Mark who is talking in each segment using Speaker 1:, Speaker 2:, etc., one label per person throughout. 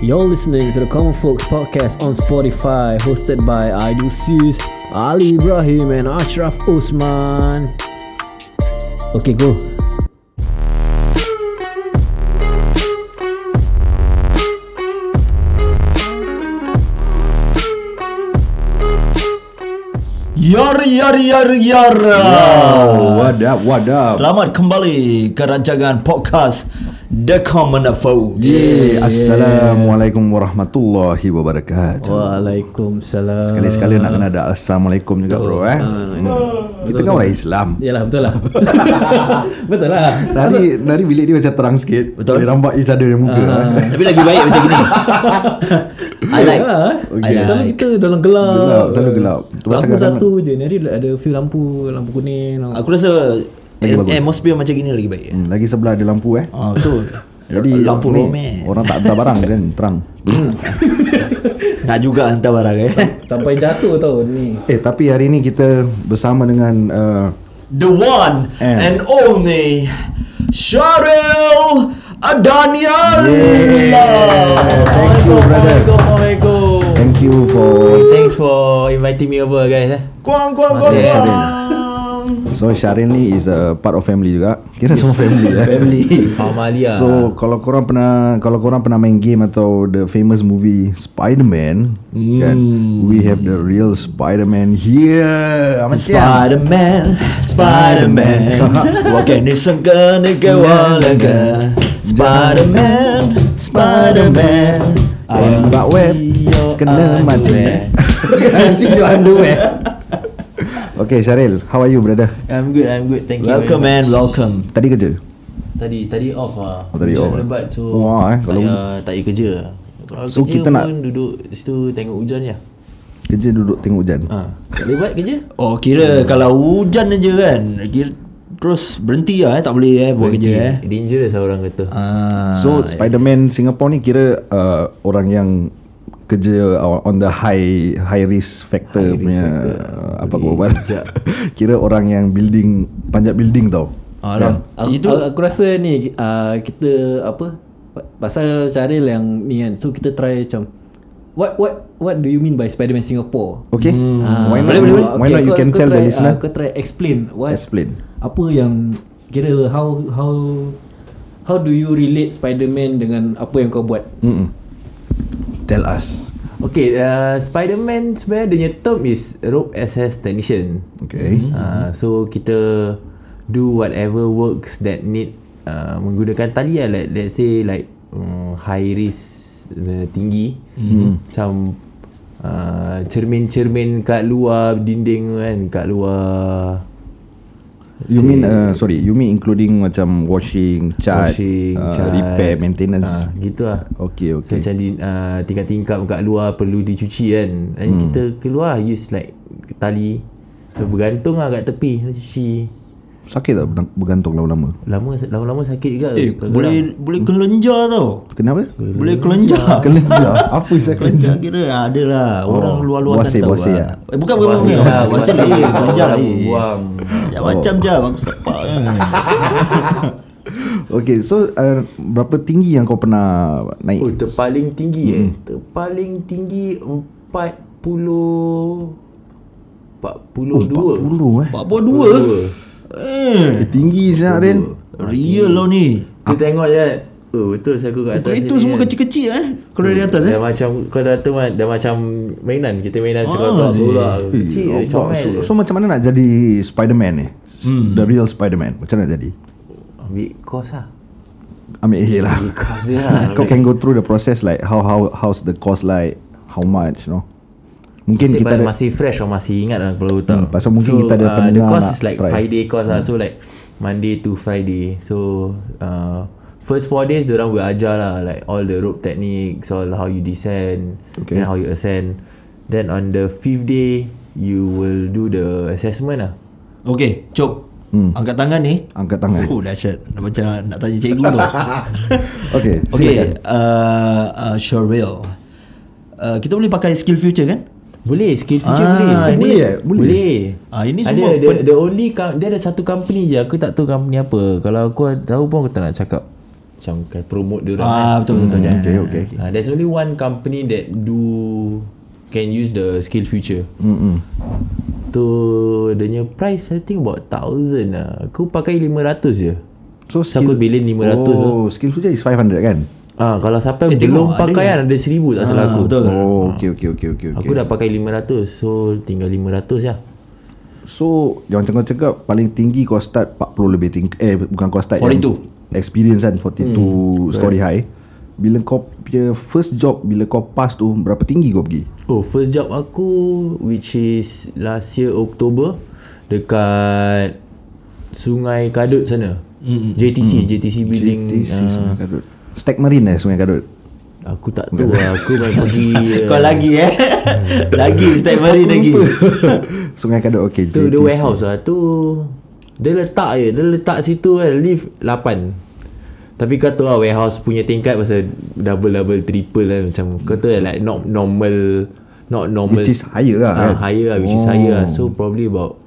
Speaker 1: You're listening to the Common Folks podcast on Spotify, hosted by Idusis, Ali Ibrahim, and Ashraf Usman. Okay, go.
Speaker 2: Yar yar yar yar.
Speaker 3: Oh, what up, what up?
Speaker 2: Selamat kembali ke rancangan podcast The Common Folk.
Speaker 3: Yeah, Assalamualaikum warahmatullahi wabarakatuh.
Speaker 1: Waalaikumsalam.
Speaker 3: Sekali-sekali nak kena ada Assalamualaikum juga bro eh. Hmm. Kita kan orang Islam.
Speaker 1: Yalah betul lah. betul lah.
Speaker 3: Dari dari bilik dia macam terang sikit.
Speaker 2: Betul.
Speaker 3: Boleh nampak each other muka. eh.
Speaker 2: Tapi lagi baik macam gini. I
Speaker 1: Ah,
Speaker 2: like.
Speaker 3: Ya, Okay.
Speaker 1: okay. Selalu kita dalam gelap.
Speaker 3: Gelap, selalu gelap. Tu
Speaker 1: lampu
Speaker 3: pasal kadang-kadang-
Speaker 1: satu je. Nanti ada few lampu, lampu kuning. lampu-
Speaker 2: Aku rasa eh,
Speaker 3: Lagi bagus.
Speaker 2: atmosphere macam gini lagi baik.
Speaker 3: Hmm, lagi sebelah ada lampu eh.
Speaker 2: Ah betul.
Speaker 3: Jadi
Speaker 2: lampu
Speaker 3: ni,
Speaker 2: romen.
Speaker 3: Orang tak hantar barang kan terang.
Speaker 2: Nak juga hantar barang eh.
Speaker 1: Sampai jatuh tau ni.
Speaker 3: eh tapi hari ni kita bersama dengan uh,
Speaker 2: The one
Speaker 3: Eh.
Speaker 2: and only Sharil Adanian.
Speaker 3: Yeah. Thank you brother.
Speaker 1: Assalamualaikum.
Speaker 3: Thank you for
Speaker 1: Thanks for inviting me over guys eh.
Speaker 2: Kuang kuang kuang.
Speaker 1: Masih,
Speaker 2: kuang.
Speaker 3: So Syarin ni is a part of family juga. Kira semua family lah.
Speaker 2: Family.
Speaker 4: Ya.
Speaker 1: Amalia.
Speaker 3: So kalau korang pernah kalau korang pernah main game atau the famous movie Spider-Man kan we have the real Spider-Man here. Amat siap.
Speaker 2: Spider-Man, Spider-Man Walking is a gun, a girl, a gun Spider-Man, Spider-Man
Speaker 3: Tembak web kena mati. I see your underwear. Okay Syaril, how are you brother?
Speaker 5: I'm good, I'm good. Thank
Speaker 2: Welcome
Speaker 5: you. very
Speaker 2: man,
Speaker 5: much.
Speaker 2: welcome
Speaker 3: Tadi kerja?
Speaker 5: Tadi tadi off ah.
Speaker 3: Oh, tadi off,
Speaker 5: hujan
Speaker 3: eh?
Speaker 5: lebat so.
Speaker 3: Wah, eh, kalau-
Speaker 5: tak payah, tak payah kerja. Kalau
Speaker 3: So,
Speaker 5: so, kerja
Speaker 3: kita
Speaker 5: kita pun
Speaker 3: nak-
Speaker 5: duduk situ tengok hujan je.
Speaker 3: Kerja duduk tengok hujan.
Speaker 4: Ah,
Speaker 5: Ha. Tak boleh buat kerja?
Speaker 2: Oh kira kalau hujan aja kan kira Terus berhenti lah eh, tak boleh eh buat kerja eh
Speaker 5: Dangerous lah orang kata.
Speaker 2: Ah,
Speaker 1: ya,
Speaker 3: So Spider-Man Singapore ni kira uh, orang yang kerja on the high high risk factor high
Speaker 5: High risk
Speaker 3: punya
Speaker 5: factor.
Speaker 3: uh, apa
Speaker 5: Boleh
Speaker 3: global.
Speaker 5: bijak.
Speaker 3: kira orang yang building panjat building tau. Ya.
Speaker 2: Ah, dah.
Speaker 4: ya.
Speaker 1: Aku,
Speaker 2: Itu
Speaker 1: Itu aku rasa ni
Speaker 4: ah,
Speaker 1: uh, kita apa pa- pasal Syaril yang ni kan. So kita try macam what what what do you mean by Spider-Man Singapore?
Speaker 3: Okay.
Speaker 1: Ah,
Speaker 3: why not?
Speaker 1: boleh, boleh, boleh.
Speaker 3: why not
Speaker 1: Okay,
Speaker 3: you
Speaker 1: kau-
Speaker 3: can
Speaker 1: kau
Speaker 3: tell the
Speaker 1: try,
Speaker 3: listener?
Speaker 1: ah, Kau try explain what
Speaker 3: Explain.
Speaker 1: apa yang kira how how how do you relate Spider-Man dengan apa yang kau buat?
Speaker 3: Mm-mm. Tell us.
Speaker 5: Okay, uh, Spider-Man sebenarnya dia punya term is rope access technician.
Speaker 1: Hmm.
Speaker 3: Okay.
Speaker 5: Uh, so kita do whatever works that need uh, menggunakan tali lah. Like, let's say like um, high risk uh, tinggi.
Speaker 3: Mhm.
Speaker 5: Mm. Macam uh, cermin-cermin kat luar dinding kan, kat luar
Speaker 3: You mean uh, sorry, you mean including macam washing, cat,
Speaker 5: washing,
Speaker 3: uh,
Speaker 5: cat.
Speaker 3: repair, maintenance.
Speaker 5: Ah, gitu lah.
Speaker 3: Okay,
Speaker 5: So,
Speaker 3: okay.
Speaker 5: macam di, uh, tingkap-tingkap kat luar perlu dicuci kan. And hmm. kita keluar use like tali bergantung lah kat tepi cuci.
Speaker 3: Sakit tak ber- bergantung lama-lama?
Speaker 5: Lama lama-lama sakit juga.
Speaker 2: eh,
Speaker 5: Kadang-kadang.
Speaker 2: boleh boleh kelenjar tau
Speaker 3: Kenapa?
Speaker 2: Boleh kelenjar
Speaker 3: Kelenjar. apa saya kelenjar?
Speaker 2: Kelenjar kira ada lah Orang
Speaker 3: Oh,
Speaker 2: luar-luar sana
Speaker 3: buasir,
Speaker 2: tahu
Speaker 3: buasir
Speaker 2: lah. Eh, bukan bukan
Speaker 5: Buasir
Speaker 2: bukan
Speaker 5: lah,
Speaker 2: Buasir
Speaker 5: buasir.
Speaker 2: lain Kelenjar
Speaker 5: Orang
Speaker 2: lain
Speaker 5: buang.
Speaker 2: Ya, Macam je Bang sepak kan
Speaker 3: Okay so uh, Berapa tinggi yang kau pernah Naik
Speaker 5: Oh, terpaling tinggi eh.
Speaker 2: Hmm.
Speaker 5: Terpaling tinggi 40
Speaker 2: Oh,
Speaker 3: 40 eh
Speaker 5: 42.
Speaker 2: Pak Buah dua Eh
Speaker 3: eh, Tinggi siap Rin
Speaker 2: Real lah ni
Speaker 5: Tu tengok je. Oh, betul saya aku kat atas. Hmm.
Speaker 2: Kereta semua kecil-kecil eh Kalau dari atas eh
Speaker 5: Dah macam kau dah tu kan, dah macam mainan kita mainan cepat
Speaker 2: Ah,
Speaker 5: tak
Speaker 2: Zee.
Speaker 5: bola. Kecil je,
Speaker 3: Eh, nampak.
Speaker 5: comel.
Speaker 3: so,
Speaker 5: je.
Speaker 3: so macam mana nak jadi Spiderman ni hmm. The real Spiderman Macam mana nak jadi
Speaker 5: Ambil kos lah.
Speaker 3: Ambil A lah
Speaker 5: Ambil kos dia lah.
Speaker 3: Kau can go through the process like How how how's the cost like How much you know Mungkin
Speaker 5: masih,
Speaker 3: kita
Speaker 5: ba-
Speaker 3: ada,
Speaker 5: masih fresh or masih ingat dalam kepala otak. ah,
Speaker 3: Hmm, pasal mungkin kita ada
Speaker 5: the
Speaker 3: pendengar
Speaker 5: course
Speaker 3: nak
Speaker 5: is like
Speaker 3: try. Hmm.
Speaker 5: Friday course lah. So like Monday to Friday. So uh, first four days orang will ajar lah like all the rope techniques, all how you descend,
Speaker 3: Okay.
Speaker 5: okay. then how you ascend. Then on the fifth day you will do the assessment lah.
Speaker 2: Okay Cop Angkat tangan ni
Speaker 3: Angkat tangan
Speaker 2: Oh dahsyat Dah Macam nak tanya cikgu tu
Speaker 3: Okay, silakan.
Speaker 2: Okay uh, uh, Sheril uh, Kita boleh pakai skill future kan
Speaker 5: Boleh skill future
Speaker 2: Ah,
Speaker 5: boleh.
Speaker 3: ini- Boleh eh? Boleh.
Speaker 5: Boleh.
Speaker 2: Ah, ini
Speaker 5: ada,
Speaker 2: semua
Speaker 5: the,
Speaker 2: pen-
Speaker 5: the only com- dia ada satu company je aku tak tahu company apa. Kalau aku tahu pun aku tak nak cakap. macam kan promote dia orang kan.
Speaker 2: Ah betul betul. betul.
Speaker 3: Okay, okay.
Speaker 5: Uh, there's only one company that do can use the skill future. Hmm. Tu dia punya price I think about 1000 lah. Aku pakai 500 je.
Speaker 3: So
Speaker 5: So, aku bilin
Speaker 3: oh,
Speaker 5: 500 lah.
Speaker 3: skill future is 500 kan?
Speaker 5: Ah, kalau siapa
Speaker 2: Eh,
Speaker 5: eh,
Speaker 2: tengok,
Speaker 5: belum
Speaker 2: ada
Speaker 5: pakai kan ada 1000 tak
Speaker 2: Ah,
Speaker 5: salah aku.
Speaker 2: betul.
Speaker 3: Oh, okay, okay, okay, okay.
Speaker 5: Aku
Speaker 3: okay.
Speaker 5: dah pakai 500 so tinggal 500 lah.
Speaker 3: So, yang macam kau cakap, paling tinggi kau start 40 lebih tinggi. Eh, bukan kau start.
Speaker 2: 42.
Speaker 3: Yang experience kan, 42 story high. Bila kau punya first job, bila kau pass tu, berapa tinggi kau pergi?
Speaker 5: Oh, first job aku which is last year October dekat Sungai Kadut sana. Mm. JTC, JTC building.
Speaker 3: JTC,
Speaker 5: ah,
Speaker 3: Sungai Kadut. Stack Marine eh, Sungai Kadut.
Speaker 5: aku tak tahu lah. Aku main pergi
Speaker 2: Kau
Speaker 3: lah,
Speaker 2: lagi eh. lagi setiap hari lagi.
Speaker 3: Sungai Kadut, okay.
Speaker 5: tu the warehouse lah tu. Dia letak je, dia letak situ kan lift 8. Tapi kau tahu lah warehouse punya tingkat pasal double double triple lah macam kau tahu lah like not normal not normal
Speaker 3: Which is higher lah. Oh.
Speaker 5: ah,
Speaker 3: kan?
Speaker 5: higher lah which is higher lah. So probably about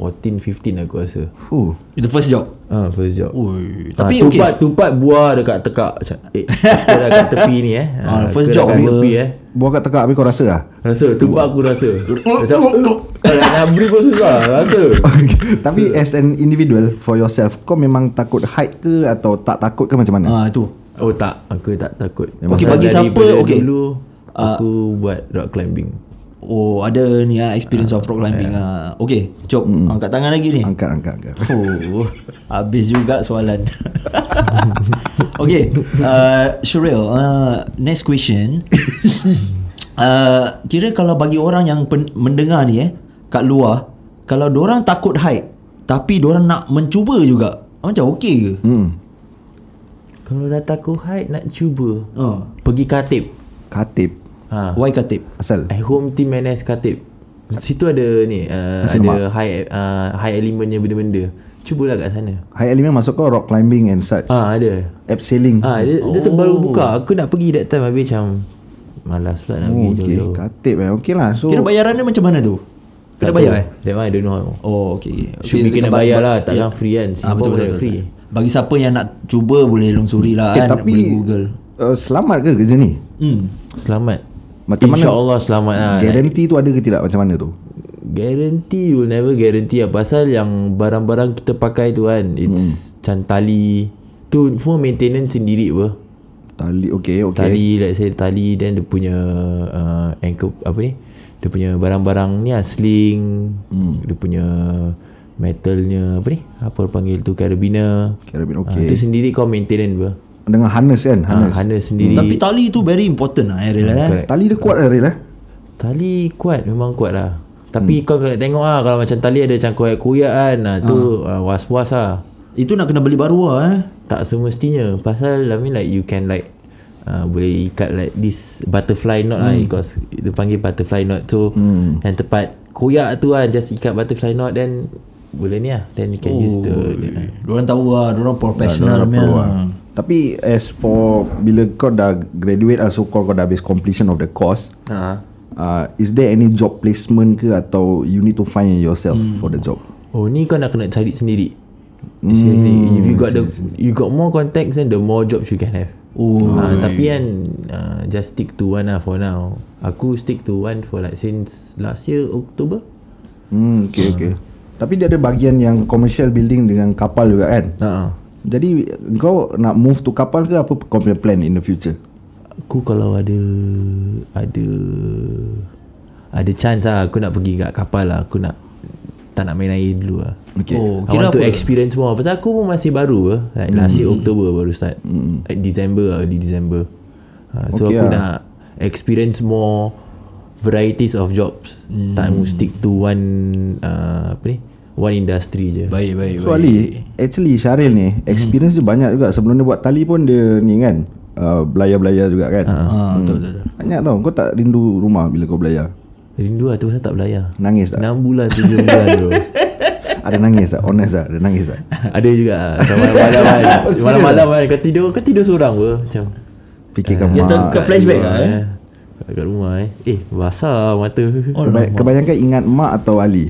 Speaker 5: 14 15 aku rasa.
Speaker 3: Oh.
Speaker 2: Itu first job.
Speaker 5: Ah, first job.
Speaker 2: Ui,
Speaker 5: Ah,
Speaker 2: tapi Oh, okay.
Speaker 5: tupat tupat buah dekat tekak. Macam, Eh, aku dah kat tepi ni eh.
Speaker 2: Ah,
Speaker 5: Ah,
Speaker 2: first
Speaker 5: aku dah
Speaker 2: job
Speaker 5: kat
Speaker 2: apa?
Speaker 5: tepi eh.
Speaker 3: Buah kat tekak habis kau rasa lah?
Speaker 5: Rasa tupat aku rasa. Macam "Oh, kalau nak beri pun susah rasa.
Speaker 3: Tapi as an individual for yourself, kau memang takut height ke atau tak takut ke macam
Speaker 2: Ah
Speaker 3: mana?
Speaker 2: itu.
Speaker 5: Oh tak, aku tak takut.
Speaker 2: Okey,
Speaker 5: Pasal
Speaker 2: bagi siapa,
Speaker 5: daripada
Speaker 2: okey. Ah.
Speaker 5: Dulu aku buat rock climbing.
Speaker 2: Oh ada ni ah experience of rock climbing
Speaker 5: ya.
Speaker 2: ah. Okay, Cop.
Speaker 5: Hmm.
Speaker 2: Angkat tangan lagi
Speaker 5: Ah.
Speaker 2: ni.
Speaker 3: Angkat, angkat, angkat.
Speaker 2: Oh, habis juga soalan. okay, uh, Sheril, uh, next question. uh, kira kalau bagi orang yang pen- mendengar ni eh, kat luar, kalau orang takut height, tapi orang nak mencuba juga, macam okey ke?
Speaker 3: Hmm.
Speaker 5: Kalau dah takut height nak cuba.
Speaker 2: Uh,
Speaker 5: Pergi Katib.
Speaker 3: Katib.
Speaker 5: Ha.
Speaker 2: why Khatib?
Speaker 3: Asal?
Speaker 5: At home team NS Katib. Situ ada ni uh,
Speaker 3: Nasi
Speaker 5: ada high uh, high elementnya benda-benda. Cubalah kat sana.
Speaker 3: High element masuk kau rock climbing and such.
Speaker 5: Ah ada.
Speaker 3: Abseiling.
Speaker 5: Ah dia, oh. dia tu baru buka. Aku nak pergi that time habis macam malas pula nak
Speaker 3: Oh,
Speaker 5: pergi
Speaker 3: okay.
Speaker 5: jauh-jauh.
Speaker 3: Katib eh. Okay lah. So,
Speaker 2: Kira bayaran dia macam mana tu? Kena
Speaker 5: Tak
Speaker 2: bayar eh?
Speaker 5: tahu. That one I don't know.
Speaker 2: Oh, okay. okay.
Speaker 5: Should be kena bayar lah, takkan free kan.
Speaker 2: Ah,
Speaker 5: Singapore
Speaker 2: betul,
Speaker 5: boleh
Speaker 2: betul, betul.
Speaker 5: free.
Speaker 2: Bagi siapa yang nak cuba boleh lungsuri lah
Speaker 3: eh,
Speaker 2: kan.
Speaker 3: tapi
Speaker 2: Boleh Google.
Speaker 3: Uh, selamat ke kerja ni?
Speaker 2: Hmm.
Speaker 5: Selamat.
Speaker 3: Macam mana-
Speaker 5: InsyaAllah selamat lah.
Speaker 3: Guarantee tu ada ke tidak macam mana tu?
Speaker 5: Guarantee you will never guarantee lah Pasal yang barang-barang kita pakai tu kan It's hmm. macam tali Tu semua maintenance sendiri apa
Speaker 3: Tali okay okay.
Speaker 5: Tali let's say tali Then dia punya uh, ankle Apa ni Dia punya barang-barang ni lah Sling hmm. Dia punya metalnya apa ni apa orang panggil tu carabiner
Speaker 3: Carabiner,
Speaker 5: Ah,
Speaker 3: okay.
Speaker 5: tu sendiri kau maintenance apa
Speaker 3: Dengan harness kan?
Speaker 5: harness.
Speaker 3: Harness.
Speaker 5: harness sendiri
Speaker 2: Tapi tali tu very important lah Ariel eh.
Speaker 5: Correct.
Speaker 3: Tali dia kuat lah Ril eh?
Speaker 5: Tali kuat Memang kuat lah Tapi hmm. kau kena tengok lah Kalau macam tali ada macam koyak-koyak kan ah, Tu ah, was-was lah
Speaker 2: Itu nak kena beli baru lah eh.
Speaker 5: Tak semestinya Pasal I mean like You can like uh, Boleh ikat like this Butterfly knot lah Because Dia panggil butterfly knot So hmm. Yang tepat Koyak tu kan Just ikat butterfly knot Then Boleh ni lah Then you can oh. use the that lah.
Speaker 2: Diorang tahu lah, diorang lah. professional punya.
Speaker 3: lah. Tapi as for bila kau dah graduate lah so called kau dah habis completion of the course,
Speaker 5: uh-huh.
Speaker 3: uh, is there any job placement ke atau you need to find yourself hmm. for the job?
Speaker 5: Oh ni kau nak kena cari sendiri Seriously If you got the You got more contacts Then the more jobs you can have
Speaker 2: Oh.
Speaker 5: Ah, Tapi kan uh, Just stick to one lah for now Aku stick to one for like Since last year October
Speaker 3: Hmm, okay okay. Tapi dia ada bahagian yang commercial building dengan kapal juga kan?
Speaker 5: uh-huh.
Speaker 3: Jadi kau nak move to kapal ke apa kau punya plan in the future?
Speaker 5: Aku kalau ada Ada Ada chance lah Aku nak pergi kat kapal lah Aku nak Tak nak main air dulu lah
Speaker 3: Okay.
Speaker 2: Oh,
Speaker 5: I
Speaker 2: kira
Speaker 5: want to
Speaker 2: apa?
Speaker 5: experience more Pasal aku pun masih baru eh. Like last
Speaker 3: Hmm.
Speaker 5: year October baru start Like December lah Early December ha, So
Speaker 3: Okay
Speaker 5: aku
Speaker 3: lah.
Speaker 5: nak Experience more Varieties of jobs
Speaker 3: Hmm.
Speaker 5: Tak mau stick to one uh, Apa ni One industry je
Speaker 2: Baik, baik, Hmm.
Speaker 3: So Ali, actually Syaril ni experience dia banyak juga. Sebelum dia buat tali pun dia ni kan, uh, belayar-belayar juga kan.
Speaker 2: Ah, betul, betul, betul.
Speaker 3: Banyak tau Kau tak rindu rumah bila kau belayar
Speaker 5: Rindu lah tu pasal tak belayar
Speaker 3: Nangis tak?
Speaker 5: 6 bulan 7 bulan tu
Speaker 3: Ada nangis tak? Honest tak? Ada nangis tak?
Speaker 5: Ada juga ah. Macam Malam-malam kan.
Speaker 2: ah?
Speaker 5: Malam-malam kan Kau tidur Kau tidur seorang ke Macam
Speaker 3: Fikirkan
Speaker 2: Dia
Speaker 3: mak
Speaker 2: ter- ke flashback lah
Speaker 5: rumah,
Speaker 2: eh.
Speaker 5: Kat rumah eh Eh basah mata
Speaker 2: Oh,
Speaker 3: Kebay- Kebanyakan ingat mak atau Ali?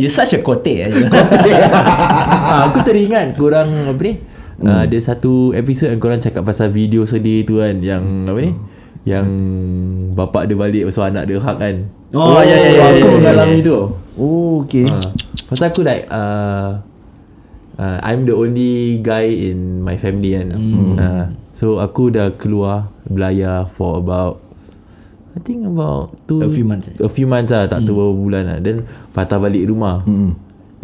Speaker 2: you such a kote eh.
Speaker 5: Ah, aku teringat korang apa ni? Hmm. Uh, ada satu episod yang korang cakap pasal video sedih tu kan yang apa ni? Yang bapak dia balik pasal anak dia hak kan.
Speaker 2: Oh, ya, ya, ya, ya,
Speaker 5: Aku
Speaker 2: ya,
Speaker 5: mengalami tu.
Speaker 3: Oh okay
Speaker 5: Ah. Pasal aku like uh, uh, I'm the only guy in my family kan. Hmm. Uh, so aku dah keluar belayar for about I think about two
Speaker 2: A few months, eh?
Speaker 5: A few months lah Tak tahu berapa bulan lah Then Fatah balik rumah
Speaker 2: Hmm.
Speaker 5: mm.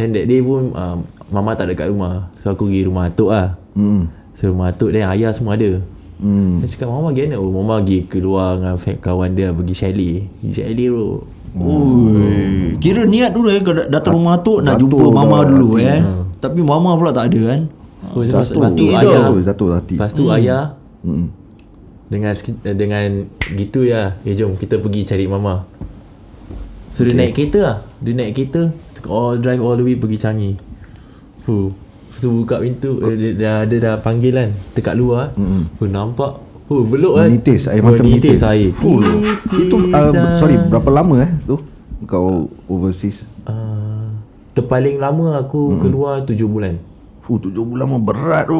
Speaker 5: Then that day pun uh, Mama tak ada kat rumah So aku pergi rumah atuk lah
Speaker 2: Hmm.
Speaker 3: Hmm.
Speaker 5: mm. So rumah atuk Then ayah semua ada mm. Dia cakap Mama gimana oh, Mama pergi keluar Dengan fa- kawan dia Pergi chalet Pergi chalet tu
Speaker 2: Ui. Kira niat dulu eh kalau datang rumah tu nak jumpa mama dulu eh. Tapi mama pula tak ada kan.
Speaker 5: oh, Lepas
Speaker 3: Satu
Speaker 5: lepas tu ayah
Speaker 3: Satu Satu hati Hmm.
Speaker 5: Lepas
Speaker 4: Hmm.
Speaker 5: tu ayah Dengan seki- eh, Dengan Gitu ya Eh jom kita pergi cari mama So dia naik kereta lah Dia naik kereta All drive all the way pergi Changi Fuh Lepas tu buka pintu eh, dia, dia, dia dah panggil kan Dekat luar
Speaker 4: Hmm.
Speaker 5: mm. Fuh nampak Fuh belok kan
Speaker 3: Menitis Air
Speaker 5: Fuh,
Speaker 3: mata menitis
Speaker 5: Menitis air
Speaker 3: Fuh. Itu uh, Sorry Berapa lama eh tu Kau overseas
Speaker 5: Ah, Terpaling lama aku
Speaker 4: Hmm.
Speaker 5: keluar 7 bulan
Speaker 3: Fuh tujuh bulan mah berat tu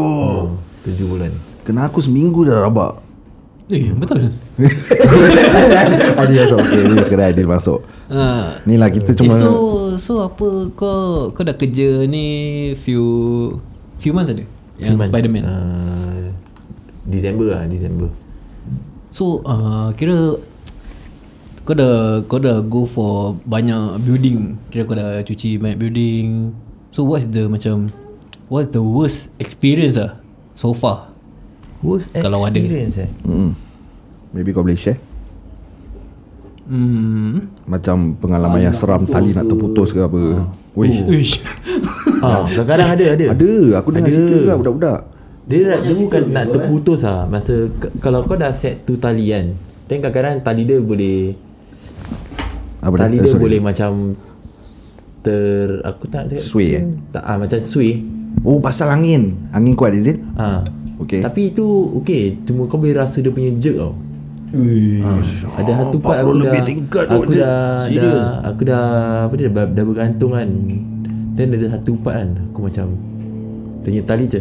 Speaker 3: oh.
Speaker 5: Hmm. 7 bulan
Speaker 3: Kena aku seminggu dah rabak
Speaker 4: Eh, betul.
Speaker 3: Adil masuk Okay ni sekarang Adil masuk
Speaker 4: Ha.
Speaker 3: Ni lah kita
Speaker 4: Eh,
Speaker 3: cuma
Speaker 4: so so apa kau kau dah kerja ni few few months ada yang
Speaker 5: Few months.
Speaker 4: Spiderman. Uh.
Speaker 5: Ah, December lah December
Speaker 4: So uh, kira kau dah kau dah go for banyak building. Kira kau dah cuci banyak building. So what's the macam what's the worst experience ah so far?
Speaker 5: Worst
Speaker 4: Kalau ada.
Speaker 5: experience eh
Speaker 3: hmm. Maybe kau boleh share
Speaker 4: Hmm.
Speaker 3: Macam pengalaman yang seram Tali nak terputus ke apa
Speaker 5: Oh,
Speaker 3: Wih
Speaker 4: Uish.
Speaker 5: Ah, kadang-kadang ada ada.
Speaker 3: Ada Aku dengar cerita lah budak-budak
Speaker 5: Dia nak dia bukan nak terputus ah. Masa k- kalau kau dah set tu tali kan. Then kadang-kadang tali dia boleh
Speaker 3: Apa
Speaker 5: tali
Speaker 3: eh,
Speaker 5: dia
Speaker 3: sorry.
Speaker 5: boleh macam ter aku tak nak cakap
Speaker 3: Sway, eh?
Speaker 5: Tak ah macam sway.
Speaker 3: Oh pasal angin Angin kuat is it
Speaker 5: Ah.
Speaker 3: Okay.
Speaker 5: Tapi itu okey, cuma kau boleh rasa dia punya jerk tau. Ah, ada
Speaker 3: Oh,
Speaker 5: satu
Speaker 3: 40
Speaker 5: part aku dah
Speaker 3: lebih tingkat tu
Speaker 5: aku
Speaker 3: je.
Speaker 5: dah, dah aku dah apa dia dah, dah bergantung kan. Dan ada satu part kan aku macam dia punya tali je.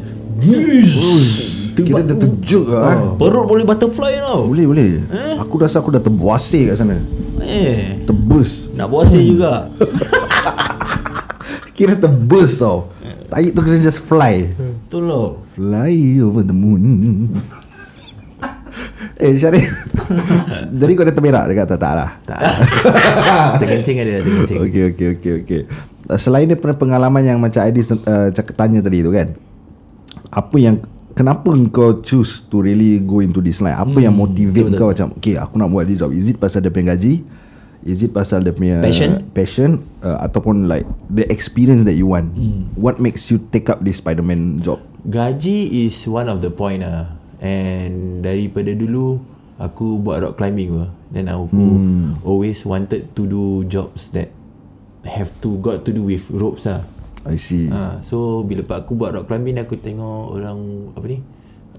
Speaker 5: Tu
Speaker 3: Kira dia terjuk lah eh.
Speaker 5: Oh.
Speaker 2: Perut boleh butterfly tau.
Speaker 3: Oh, Boleh boleh Aku rasa aku dah terbuasir kat sana
Speaker 2: Eh.
Speaker 3: Tebus
Speaker 2: Nak puasa juga.
Speaker 3: Kira tebus tau Tahi tu kena just fly
Speaker 2: Betul lah.
Speaker 3: Fly over the moon Eh Syarif Jadi kau dah terberak dekat tak tak lah
Speaker 5: Tak. terkencing ada, terkencing. Okay.
Speaker 3: Okay okay okay okay Uh, Selain dia pernah pengalaman yang macam Adi uh, cakap tanya tadi tu kan Apa yang Kenapa kau choose to really go into this line Apa yang
Speaker 2: Hmm,
Speaker 3: motivate kau macam Okay aku nak buat this job Is it pasal dia punya gaji Is it pasal dia punya
Speaker 2: Passion?
Speaker 3: passion uh, Ataupun like The experience that you want
Speaker 2: Hmm.
Speaker 3: What makes you take up this Spiderman job
Speaker 5: Gaji is one of the point lah. And daripada dulu aku buat rock climbing lah. Then aku hmm. always wanted to do jobs that have to got to do with ropes lah.
Speaker 3: I see
Speaker 2: Ah.
Speaker 5: Ha, so bila pak aku buat rock climbing aku tengok orang apa ni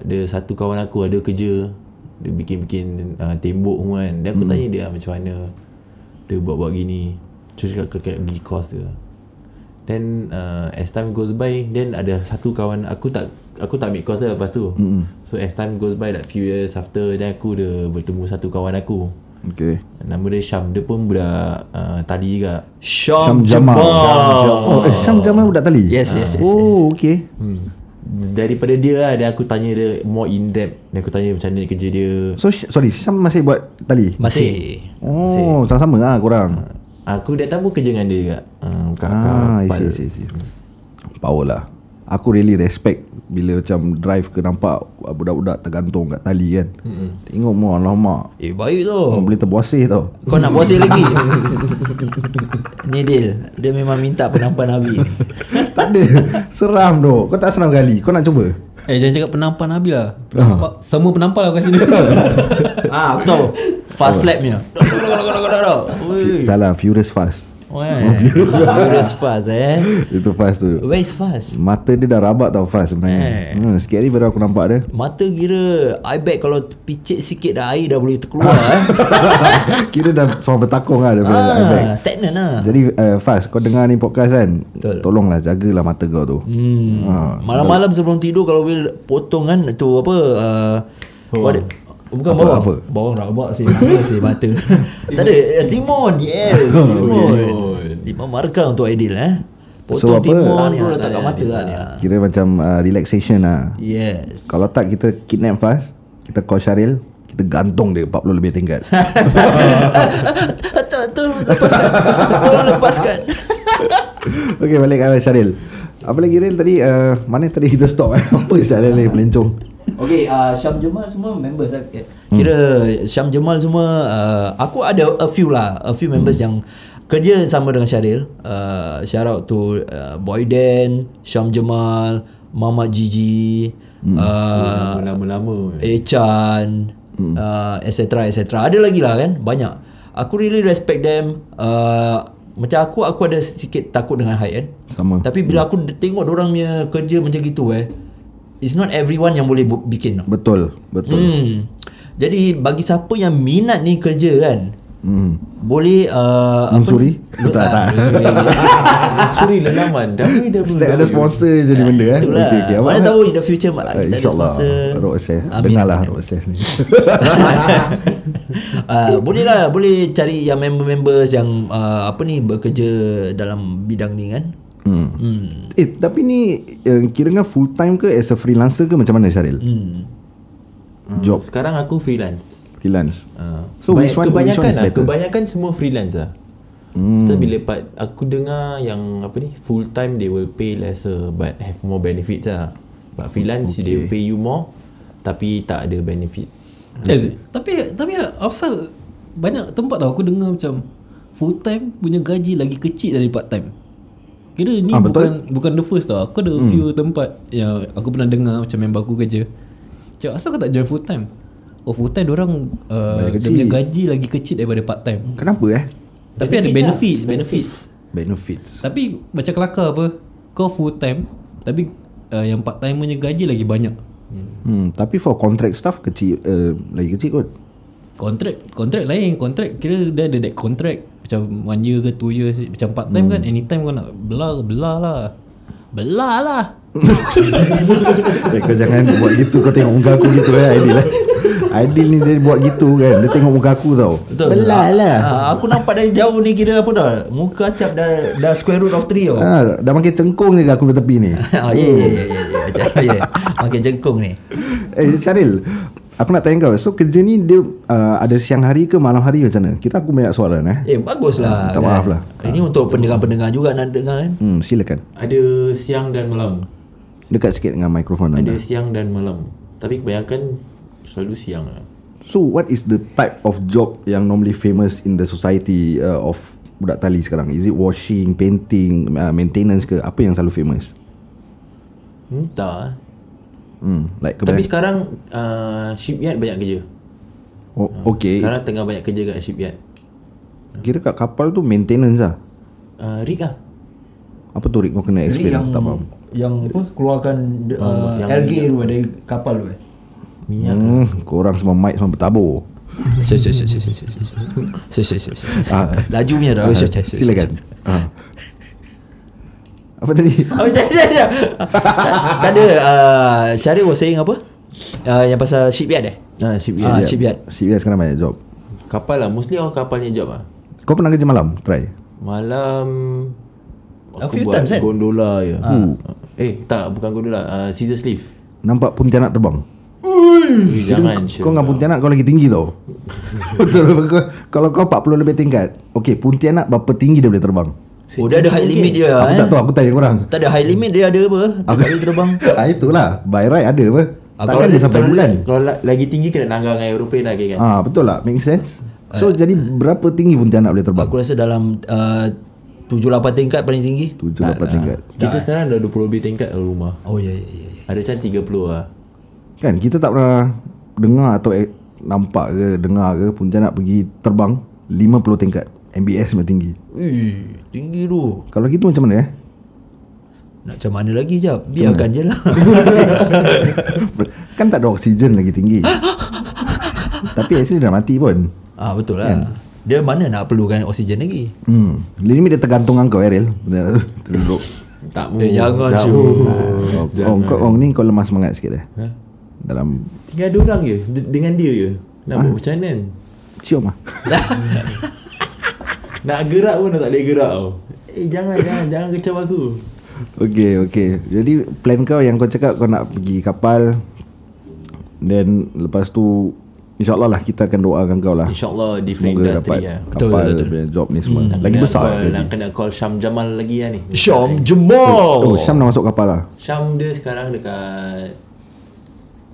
Speaker 5: ada satu kawan aku ada kerja dia bikin-bikin uh, tembok semua kan dan aku hmm. tanya dia ah, macam mana dia buat-buat gini so cakap kau kena pergi course dia then uh, as time goes by then ada satu kawan aku tak aku tak ambil course dia lepas tu hmm. so as time goes by like few years after then aku dia bertemu satu kawan aku
Speaker 3: Okay
Speaker 5: nama dia Syam dia pun budak uh, tali juga
Speaker 2: Syam
Speaker 3: Syam Jamal
Speaker 2: Jamal.
Speaker 3: Oh eh, Syam Jamal budak tali
Speaker 2: Yes, yes, yes,
Speaker 3: Oh okay
Speaker 5: Hmm. Daripada dia lah Dia aku tanya dia More in depth Dan aku tanya macam mana kerja dia
Speaker 3: So Sy- sorry Syam masih buat tali
Speaker 2: Masih.
Speaker 3: Oh sama-sama lah korang
Speaker 5: Ah, Aku dah tahu kerja dengan dia juga uh, Kakak
Speaker 3: Ah, I
Speaker 5: part-
Speaker 3: see, I see, I see. Power lah. Aku really respect bila macam drive ke nampak budak-budak tergantung kat tali kan. Mm-hmm. Tengok mu alamak.
Speaker 2: Eh baik
Speaker 3: Oh.
Speaker 2: tau.
Speaker 3: Boleh terbuasir tau.
Speaker 2: Kau nak puasa lagi? Ni Dil, dia memang minta penampan Nabi.
Speaker 3: tak ada. Seram tu. Kau tak seram kali. Kau nak cuba?
Speaker 4: Eh jangan cakap penampan Nabil lah. Penampak, Semua penampal lah kat sini.
Speaker 3: Oh.
Speaker 2: ah, aku tahu. Fast slap punya. Dok, dok, dok, dok, dok, dok, dok. Ui.
Speaker 3: Salah, Furious Fast.
Speaker 2: Wah, Lurus fast eh
Speaker 3: Itu fast tu
Speaker 2: Where is fast?
Speaker 3: Mata dia dah rabak tau fast sebenarnya hmm, Sikit hari baru aku nampak dia
Speaker 2: Mata kira I bag kalau picit sikit dah air dah boleh terkeluar eh.
Speaker 3: Kira dah soal bertakung lah daripada ah. airbag
Speaker 2: ah, Stagnan lah
Speaker 3: Jadi uh, Faz Kau dengar ni podcast kan
Speaker 2: Betul.
Speaker 3: Tolonglah jagalah mata kau tu hmm. ha.
Speaker 2: Malam-malam sebelum tidur kalau boleh potong kan tu apa uh, what, bukan
Speaker 3: Apa,
Speaker 2: bawang
Speaker 3: apa?
Speaker 2: bawang rabak sih mata sih mata. Tak ada eh, timun yes timun. Timun markah untuk Aidil eh. Potong
Speaker 3: So, apa?
Speaker 2: timun
Speaker 5: Tahniah,
Speaker 2: bro letak kat
Speaker 5: tahniah,
Speaker 2: mata
Speaker 5: Aidil,
Speaker 2: lah.
Speaker 5: tahniah.
Speaker 3: Kira macam uh, relaxation lah
Speaker 2: Yes.
Speaker 3: Kalau tak kita kidnap Faz Kita call Syaril Kita gantung dia 40 lebih tingkat
Speaker 2: Tak, tak, Tolong lepaskan. Tolong lepaskan.
Speaker 3: Okay balik ke Syaril Apa lagi Ril tadi uh, Mana tadi kita stop eh? Apa Syaril ni pelencong
Speaker 6: Okay, uh, Syam Jamal semua members lah. Okay.
Speaker 2: Kira Syam Jamal semua uh, Aku ada a few lah A few members yang Kerja sama dengan Syaril uh, Shout out to uh, Boy Dan Syam Jamal Mama Gigi uh,
Speaker 5: Ah, Lama-lama
Speaker 2: Echan hmm. uh, etc etc ada lagi lah kan banyak aku really respect them uh, macam aku aku ada sikit takut dengan height kan
Speaker 3: Sama.
Speaker 2: tapi bila aku de- tengok orang punya kerja macam gitu eh it's not everyone yang boleh bu- bikin tau.
Speaker 3: Betul Betul
Speaker 2: hmm. jadi bagi siapa yang minat ni kerja kan
Speaker 3: hmm.
Speaker 2: boleh uh, apa-
Speaker 3: Lusuri?
Speaker 2: Lu-
Speaker 3: Tak,
Speaker 2: ah,
Speaker 3: tak.
Speaker 2: lusuri.
Speaker 5: Suri lelaman www
Speaker 3: Setiap ada sponsor je ni benda eh
Speaker 2: Itulah.
Speaker 3: Okey, okey.
Speaker 2: lah. Mana
Speaker 3: Abang Ahmad-
Speaker 2: tahu in the future mak kita
Speaker 3: Uh,
Speaker 2: ada
Speaker 3: InsyaAllah
Speaker 2: sponsor.
Speaker 3: Road Access
Speaker 2: Amin,
Speaker 3: Dengarlah
Speaker 2: amin,
Speaker 3: Road Access ni
Speaker 2: uh, boleh lah boleh cari yang member-members yang uh, apa ni bekerja dalam bidang ni kan
Speaker 3: hmm. Eh tapi ni uh, Kira kan full time ke As a freelancer ke Macam mana Syaril hmm. Job
Speaker 5: Ah, Sekarang aku freelance
Speaker 3: freelance
Speaker 5: Ah.
Speaker 3: So
Speaker 5: Ba-
Speaker 3: which one- which
Speaker 5: kebanyakan
Speaker 3: one is
Speaker 5: lah,
Speaker 3: better?
Speaker 5: kebanyakan semua freelance lah. Hmm. Tapi bila part aku dengar yang apa ni full time they will pay lesser but have more benefits lah. But freelance okay. they will pay you more tapi tak ada benefit.
Speaker 4: Eh, tapi tapi Afsal banyak tempat tau aku dengar macam full time punya gaji lagi kecil dari part time. Kira ni ah,
Speaker 3: Ah, betul.
Speaker 4: bukan bukan the first tau. Aku ada hmm. few tempat yang aku pernah dengar macam member aku kerja. Macam asal kau tak join full time? Oh full time orang uh, dia
Speaker 3: Bayar kecil.
Speaker 4: punya gaji lagi kecil daripada part time.
Speaker 3: Kenapa eh
Speaker 4: Tapi ada benefits,
Speaker 5: lah. benefits.
Speaker 3: Benefits
Speaker 4: Tapi macam kelakar apa? Kau full time tapi uh, yang part time punya gaji lagi banyak.
Speaker 3: hmm, Tapi for contract staff Kecil uh, Lagi kecil kot
Speaker 4: Contract Contract lain Contract kira dia ada that contract Macam one year ke two years Macam part time hmm. kan Anytime kau nak Belah Belah lah Belah lah
Speaker 3: Eh, Kau jangan buat gitu Kau tengok muka aku gitu eh Aidil eh. Aidil ni dia buat gitu kan Dia tengok muka aku tau
Speaker 2: Betul.
Speaker 3: Belah lah
Speaker 2: Ah, aku nampak dari jauh ni kira apa dah muka acap dah dah square root of 3 tau
Speaker 3: ha, Dah makin cengkung je aku tepi ni
Speaker 2: ah ya ya ya ya, ya Acap, ya makin jengkung ni
Speaker 3: Eh Syaril Aku nak tanya kau So kerja ni dia uh, Ada siang hari ke malam hari macam mana Kira aku banyak soalan
Speaker 2: eh
Speaker 3: eh
Speaker 2: bagus lah
Speaker 3: Minta maaf lah.
Speaker 2: ini untuk pendengar-pendengar juga nak dengar kan
Speaker 3: Hmm silakan
Speaker 5: Ada siang dan malam.
Speaker 3: Dekat sikit dengan mikrofon
Speaker 5: Ada
Speaker 3: anda
Speaker 5: siang dan malam. Tapi kebanyakan selalu siang lah.
Speaker 3: So what is the type of job Yang normally famous in the society uh, Of budak tali sekarang Is it washing, painting, uh, maintenance ke Apa yang selalu famous
Speaker 5: Entah.
Speaker 3: Hmm like
Speaker 5: Tapi
Speaker 3: kebanyakan
Speaker 5: sekarang uh, shipyard banyak kerja.
Speaker 3: oh, Okay
Speaker 5: Sekarang tengah banyak kerja kat shipyard.
Speaker 3: Kira kat kapal tu maintenance lah
Speaker 5: Uh, rig lah.
Speaker 3: Apa tu Rick kau kena explain yang... Tak faham
Speaker 2: yang apa keluarkan uh,
Speaker 5: yang
Speaker 2: LG tu dari kapal tu eh
Speaker 5: Minyak.
Speaker 3: hmm,
Speaker 2: lah.
Speaker 3: Korang semua mic semua bertabur
Speaker 2: Sorry, sorry, sorry, sorry, sorry, sorry, sorry, sorry, sorry.
Speaker 3: Ah.
Speaker 2: Laju punya dah.
Speaker 3: Silakan ha. Apa tadi
Speaker 2: Oh, tak, tak, tak. tak ada. Uh, Syarif was saying apa? Uh, yang pasal shipyard eh?
Speaker 5: Ah, shipyard.
Speaker 3: ya.
Speaker 2: Ah, shipyard.
Speaker 3: CBS sekarang banyak job
Speaker 5: Kapal lah Mostly orang kapalnya job lah
Speaker 3: Kau pernah kerja malam? Try
Speaker 5: Malam
Speaker 3: Oh,
Speaker 2: A
Speaker 5: Aku
Speaker 2: few
Speaker 5: buat
Speaker 2: times, kan?
Speaker 5: gondola je
Speaker 3: Ah.
Speaker 5: Eh tak bukan gondola uh, Scissor sleeve
Speaker 3: Nampak Pontianak terbang
Speaker 5: Eh, Jangan Syul.
Speaker 3: Hmm. Kau dengan Pontianak kau lagi tinggi tau Betul kau, Kalau kau 40 lebih tingkat Okay Pontianak berapa tinggi dia boleh terbang
Speaker 2: Oh, dia ada height limit dia.
Speaker 3: Aku
Speaker 2: eh?
Speaker 3: tak tahu aku tanya korang
Speaker 2: Tak ada height limit dia ada apa? Dia tak boleh terbang.
Speaker 3: ah, Itulah By right ada apa Takkan dia sampai
Speaker 5: Ah, kalau,
Speaker 3: bulan
Speaker 5: Kalau la- lagi tinggi Kena nanggang dengan aeroplane lagi kan
Speaker 3: Ah Betul lah Make sense So jadi berapa tinggi Pontianak boleh terbang
Speaker 2: Aku rasa dalam uh, 7-8 tingkat paling tinggi.
Speaker 3: 7-8 tingkat
Speaker 5: Kita sekarang dah 20 lebih tingkat dalam rumah
Speaker 2: Oh, ya, ya, ya.
Speaker 5: Ada macam 30 lah
Speaker 3: Kan kita tak pernah Dengar atau eh, Nampak ke Dengar ke Pontianak pergi terbang 50 tingkat MBS memang tinggi
Speaker 2: Ui, tinggi tu
Speaker 3: Kalau gitu macam mana eh
Speaker 2: Nak macam mana lagi jap Biarkan je lah
Speaker 3: Kan tak ada oksigen lagi tinggi Tapi actually dah mati pun
Speaker 2: ah, Betul lah
Speaker 3: Ya.
Speaker 2: Dia mana nak perlukan oksigen lagi
Speaker 3: Hmm. Limit dia tergantung kau Ariel Benar tu Terduduk
Speaker 5: Tak
Speaker 2: oh, Eh jangan cu
Speaker 3: oh, oh, kau, oh, ni kau lemah semangat sikit dah Dalam
Speaker 5: Tinggal ada orang je de- Dengan dia je Nak
Speaker 2: Ah.
Speaker 5: buat macam mana kan
Speaker 3: Cium lah
Speaker 5: Nak gerak pun dah tak boleh gerak tau Eh jangan jangan Jangan kecam aku
Speaker 3: Okay okay Jadi plan kau yang kau cakap Kau nak pergi kapal Then Lepas tu InsyaAllah lah kita akan doakan kau lah
Speaker 5: InsyaAllah di free
Speaker 3: Semoga
Speaker 5: industry
Speaker 3: dapat
Speaker 5: lah
Speaker 3: kapal punya job ni semua Lagi
Speaker 5: Kena lah.
Speaker 3: besar
Speaker 5: call,
Speaker 3: gaji.
Speaker 5: Nak kena call Syam Jamal lagi lah ni
Speaker 2: Syam
Speaker 3: Oh,
Speaker 2: Jamal
Speaker 3: Syam dah masuk kapal lah
Speaker 5: Syam dia sekarang dekat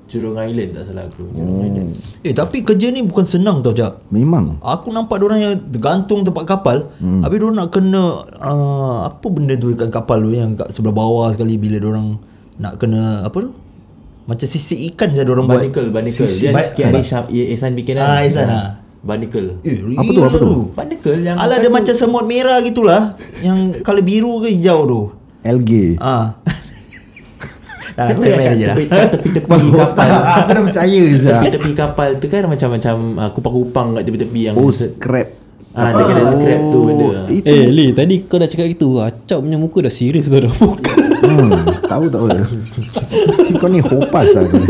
Speaker 5: Jurong Island tak salah aku Jurong Island
Speaker 2: Eh tapi kerja ni bukan senang tau jap
Speaker 3: Memang
Speaker 2: Aku nampak orang yang gantung tempat kapal hmm. Habis diorang nak kena uh, Apa benda tu kat kapal tu Yang kat sebelah bawah sekali Bila orang nak kena Apa tu Macam sisik ikan je orang buat
Speaker 5: Barnacle Barnacle
Speaker 2: Sisik-
Speaker 5: Dia
Speaker 2: ba-
Speaker 5: sikit hari Syam eh, Ehsan bikin kan
Speaker 2: Ah, Ehsan, ah.
Speaker 5: Barnacle
Speaker 2: Eh,
Speaker 3: Apa tu,
Speaker 2: real
Speaker 3: apa tu?
Speaker 5: Barnacle yang
Speaker 2: Alah dia macam semut merah gitulah Yang colour biru ke hijau tu
Speaker 3: LG
Speaker 2: Ah. Tak nak
Speaker 5: Tepi-
Speaker 2: main je lah
Speaker 5: tepi- Tepi-tepi kapal
Speaker 3: Aku dah Ah, percaya Syam
Speaker 5: Tepi-tepi kapal tu kan macam-macam uh, kupang-kupang kat tepi-tepi yang
Speaker 3: Oh scrap
Speaker 5: Ah, dia kena scrap tu benda.
Speaker 3: Itu
Speaker 4: Eh Lee tadi kau dah cakap gitu Acap punya muka dah serius tu dah Bukan
Speaker 3: hmm, Tahu tak boleh Kau ni hopas lah kau ni.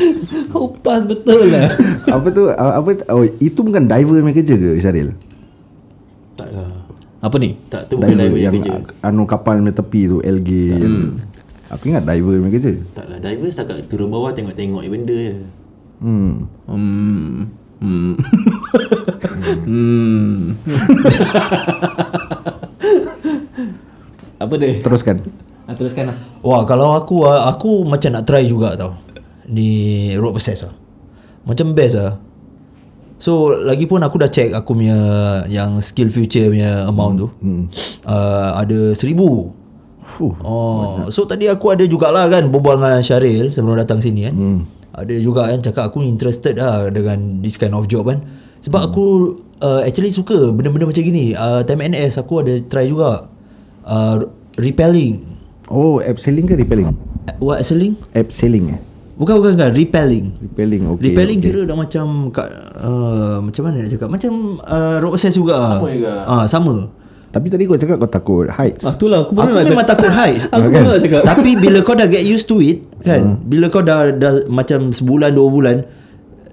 Speaker 4: Kau pas betul lah
Speaker 3: Apa tu ah, apa oh, Itu bukan diver punya kerja ke Syaril
Speaker 5: Tak lah.
Speaker 4: Apa ni?
Speaker 5: Tak tu bukan diver yang
Speaker 3: yang
Speaker 5: kerja. Hmm.
Speaker 3: ah, Anu kapal punya tepi tu LG yang- Aku ingat diver punya kerja
Speaker 5: Tak lah diver setakat turun bawah tengok-tengok je benda je.
Speaker 3: Hmm
Speaker 4: Hmm Hmm Hmm Apa dia?
Speaker 3: Teruskan
Speaker 4: Ah, teruskan lah
Speaker 2: Wah kalau aku ah, Aku macam nak try juga tau Di road process lah Macam best lah So lagi pun aku dah check Aku punya Yang skill future punya amount tu hmm. Uh, Ada seribu
Speaker 3: Fuh.
Speaker 2: Oh, so tadi aku ada jugalah kan berbual dengan Syaril sebelum datang sini kan. Hmm. Ada juga kan cakap aku interested lah dengan this kind of job kan. Sebab hmm. aku uh, actually suka benda-benda macam gini. Uh, time NS aku ada try juga uh, repelling.
Speaker 3: Oh abseiling ke repelling
Speaker 2: Eh, What selling?
Speaker 3: Abseiling eh
Speaker 2: Bukan bukan bukan repelling.
Speaker 3: Repelling okay
Speaker 2: Okay, repelling
Speaker 3: okay.
Speaker 2: okay. kira dah macam kat, uh, macam mana nak cakap? Macam uh, road access juga.
Speaker 5: Sama juga.
Speaker 2: Ah, sama.
Speaker 3: Tapi tadi kau cakap kau takut heights
Speaker 4: Ah, itulah aku
Speaker 2: Aku,
Speaker 4: pun nak
Speaker 2: memang
Speaker 4: cakap.
Speaker 2: takut heights.
Speaker 4: Aku pun nak cakap.
Speaker 2: Tapi bila kau dah get used to it kan, bila kau dah dah macam sebulan dua bulan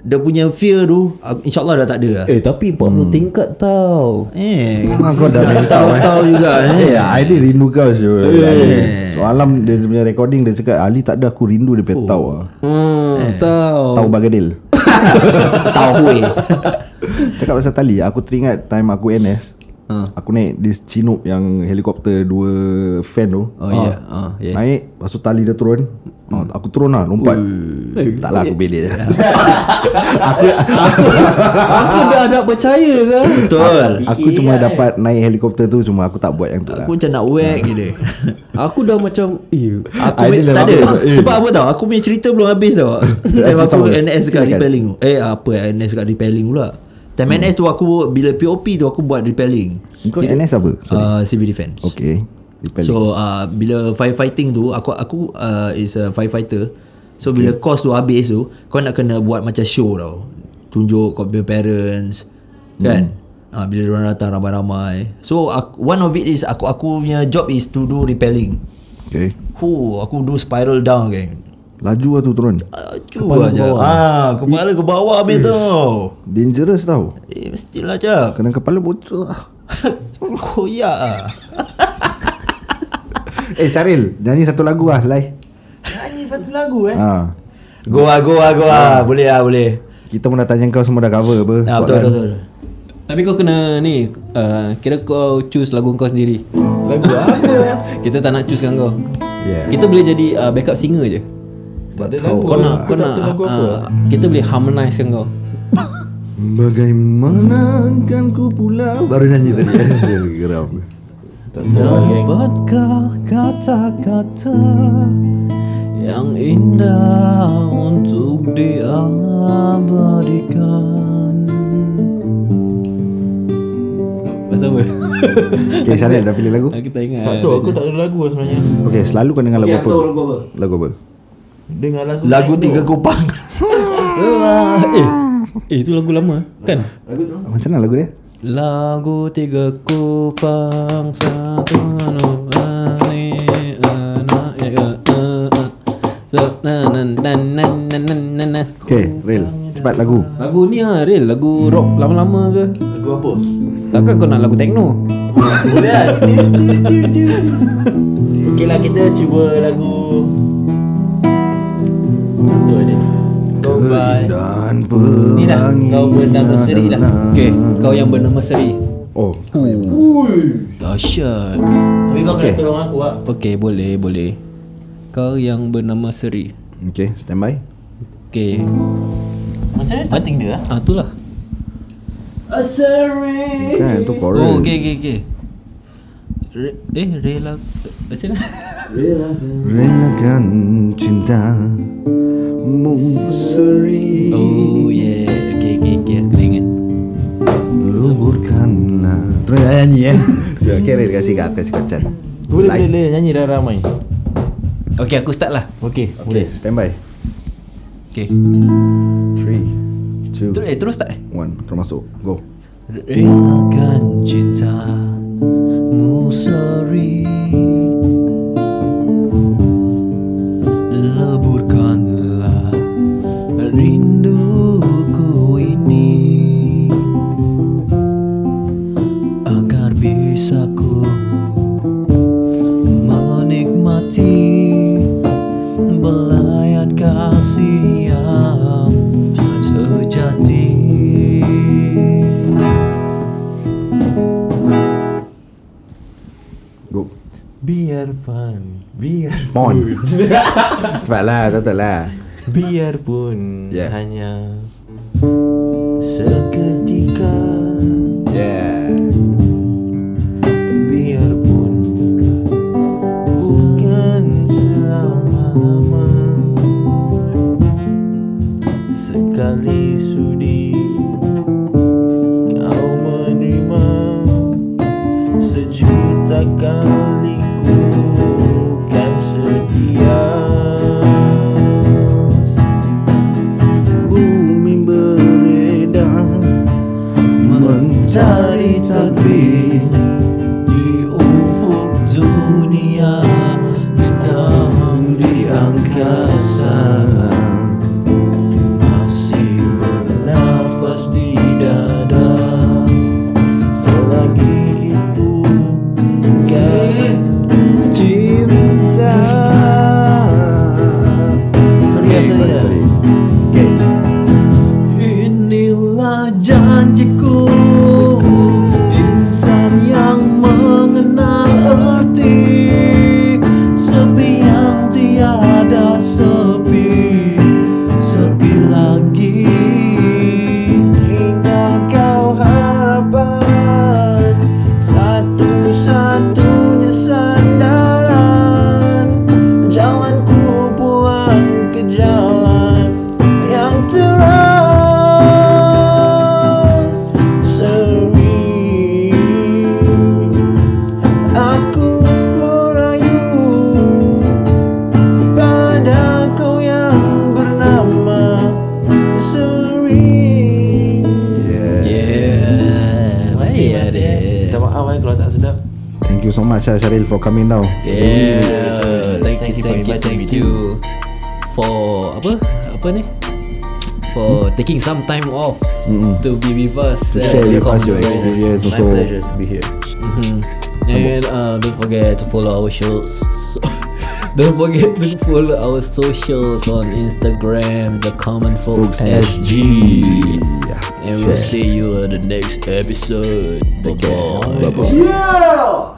Speaker 2: dia punya fear tu ah, insyaallah dah tak ada lah.
Speaker 1: Eh tapi 40 hmm. tingkat tau
Speaker 2: Eh,
Speaker 3: Kau dah mental
Speaker 2: tahu tahu juga eh.
Speaker 3: Ya, Ali rindu kau Syul. Soalam dia punya recording dia cakap Ali tak ada aku rindu dia
Speaker 2: Oh.
Speaker 3: punya tau. ah.
Speaker 1: Hmm eh. tau
Speaker 3: Tau bagadil.
Speaker 2: tahu weh.
Speaker 3: Cakap pasal tali, aku teringat time aku NS.
Speaker 2: Ha.
Speaker 3: Aku naik this Chinook yang helikopter dua fan tu. Ha.
Speaker 1: Oh ya yeah. ah, yes.
Speaker 3: Naik, lepas tu tali dia turun. Ah, aku turun lah, lompat. Taklah aku bedek je.
Speaker 1: Aku dah dah percaya ke
Speaker 2: Betul.
Speaker 3: aku cuma dapat naik helikopter tu cuma aku tak buat yang tu
Speaker 2: lah,
Speaker 3: lah.
Speaker 2: eh. Aku macam nak whack gitu.
Speaker 1: Aku dah macam Eh
Speaker 2: Aku
Speaker 3: Ideal
Speaker 2: punya-
Speaker 3: lah,
Speaker 2: tak ada.
Speaker 3: bagus. Eh.
Speaker 2: Sebab apa tau? Aku punya cerita belum habis tau. Time aku
Speaker 3: Sama.
Speaker 2: NS dekat
Speaker 3: Silakan. Hmm.
Speaker 2: repelling. Eh apa NS dekat repelling pula. Time NS tu aku bila POP tu aku buat repelling.
Speaker 3: Eh, Kau NS apa? Sorry.
Speaker 2: Uh, civil defense.
Speaker 3: Okay. Repelling.
Speaker 2: So uh, bila firefighting tu aku aku uh, is a firefighter. So bila course tu habis tu kau nak kena buat macam show tau. Tunjuk kau punya parents
Speaker 3: Hmm.
Speaker 2: kan. Ah bila orang datang ramai-ramai. So aku, one of it is aku aku punya job is to do repelling.
Speaker 3: okay.
Speaker 2: Hu aku do spiral down kan.
Speaker 3: Laju lah tu turun.
Speaker 2: Cuba aja. Ah kepala ke bawah habis tu.
Speaker 3: Dangerous tau.
Speaker 2: Eh mestilah je.
Speaker 3: Kena kepala bocor lah.
Speaker 2: Koyak ah.
Speaker 3: Eh Syaril Nyanyi satu lagu lah Lai
Speaker 5: Nyanyi satu lagu eh.
Speaker 3: ha.
Speaker 2: Goa goa goa. Boleh ah boleh.
Speaker 3: Kita pun dah tanya kau Semua dah cover apa
Speaker 2: Ah betul betul. betul.
Speaker 4: Tapi kau kena ni uh, Kira kau choose lagu kau sendiri Lagu apa? Kita tak nak choose kan kau
Speaker 3: Yeah.
Speaker 4: Kita boleh jadi uh, backup singer je
Speaker 3: Betul
Speaker 4: Kau nak, kau nak uh, Kita boleh harmonise kan kau
Speaker 3: Bagaimana kan ku pula Baru nyanyi tadi Ya, Geram
Speaker 4: Dapatkah kata-kata yang indah untuk diabadikan sama
Speaker 3: Okay Syarif dah pilih lagu
Speaker 4: Aku tak ingat
Speaker 5: Tak tahu aku tak ada lagu lah sebenarnya
Speaker 3: Okay selalu kau dengar lagu
Speaker 6: Okay,
Speaker 3: apa
Speaker 6: aku Ya, lagu apa?
Speaker 3: Lagu apa
Speaker 5: Dengar lagu
Speaker 2: Lagu
Speaker 5: Tekno.
Speaker 2: Tiga Kupang
Speaker 4: Ah, Eh Eh itu lagu lama Kan
Speaker 6: Lagu tu
Speaker 3: Macam mana lagu dia
Speaker 4: Lagu tiga kupang Satu anu Ani Ana Ya ke eh, eh. So na na na na na na na na
Speaker 3: Okay real Cepat lagu
Speaker 4: Lagu ni ah real Lagu rock lama-lama ke
Speaker 5: Lagu apa?
Speaker 4: Takkan kau nak lagu techno
Speaker 5: Boleh lah Okay lah kita cuba lagu Tu ada Kau by
Speaker 3: Dan
Speaker 5: Ni lah Kau bernama seri lah
Speaker 4: Okay Kau yang bernama Seri
Speaker 3: Oh
Speaker 4: Dahsyat
Speaker 5: Tapi kau kena tolong aku lah
Speaker 4: Okay boleh boleh Kau yang bernama Seri
Speaker 3: Okay stand by
Speaker 4: Okay
Speaker 5: Macam mana starting dia lah
Speaker 4: Ah itulah
Speaker 6: A series
Speaker 3: Kan tu chorus
Speaker 4: Oh okay okay okay Re, Eh rela Macam mana
Speaker 3: Relakan cinta Musri
Speaker 4: Oh
Speaker 3: ya.
Speaker 4: yeah Okay okay okay Aku dah ingat
Speaker 3: Luburkanlah Terus nak nyanyi eh So okay real kasih kat atas kocan
Speaker 5: Boleh boleh boleh nyanyi dah ramai
Speaker 4: Okay aku start lah
Speaker 5: Okay
Speaker 3: Okay
Speaker 5: boleh
Speaker 3: stand by
Speaker 4: Okay
Speaker 3: 3
Speaker 4: Terus
Speaker 3: 2 1
Speaker 4: eh terus start eh
Speaker 3: Termasuk Go
Speaker 4: Relakan cintamu seri Leburkanlah rinduku ini Agar bisa ku menikmati Belayan kasih yang sejati
Speaker 3: Go
Speaker 5: Biarpun Biarpun
Speaker 3: Pon Cepatlah Tetap lah
Speaker 5: Biarpun
Speaker 3: Yeah.
Speaker 5: Hanya Seketika
Speaker 3: Yeah
Speaker 5: Biarpun bukan selama-lama Sekali sudi kau menerima Sejuta kali ku kan sedia
Speaker 3: Bumi beredar
Speaker 5: Mencari terbit di ufuk dunia Bintang di angkasa Masih bernafas di dada Selagi itu kan
Speaker 3: Cinta
Speaker 5: Sorry, sorry.
Speaker 3: Okay
Speaker 4: Inilah janjiku Insan yang mengenal erti Sepi yang tiada sepi Sepi lagi
Speaker 5: Tinggal kau harapan Satu-satunya sandaran Jalanku pulang ke jalan Yang terang Seri Aku merayu Pada kau yang bernama Seri
Speaker 4: Yeah
Speaker 5: Terima kasih, terima kasih eh.
Speaker 4: ya.
Speaker 5: Minta maaf eh kalau tak sedap
Speaker 3: Thank you so much ah, Syaril for coming down
Speaker 4: Yeah, thank, you,
Speaker 5: for
Speaker 4: thank you,
Speaker 5: inviting me
Speaker 4: thank you for apa? Apa ni? For taking some time off to be with us.
Speaker 3: To
Speaker 4: and
Speaker 3: share
Speaker 4: Hmm? to
Speaker 3: with us your
Speaker 4: converse.
Speaker 3: experience
Speaker 5: My
Speaker 3: also
Speaker 5: pleasure to be here
Speaker 4: Mhm. And uh, don't forget to follow our shows. So, don't forget to follow our socials on Instagram, the Common Folks,
Speaker 3: Folks
Speaker 4: SG.
Speaker 3: Yeah
Speaker 4: And we'll see you at the next episode. Bye bye.
Speaker 6: Yeah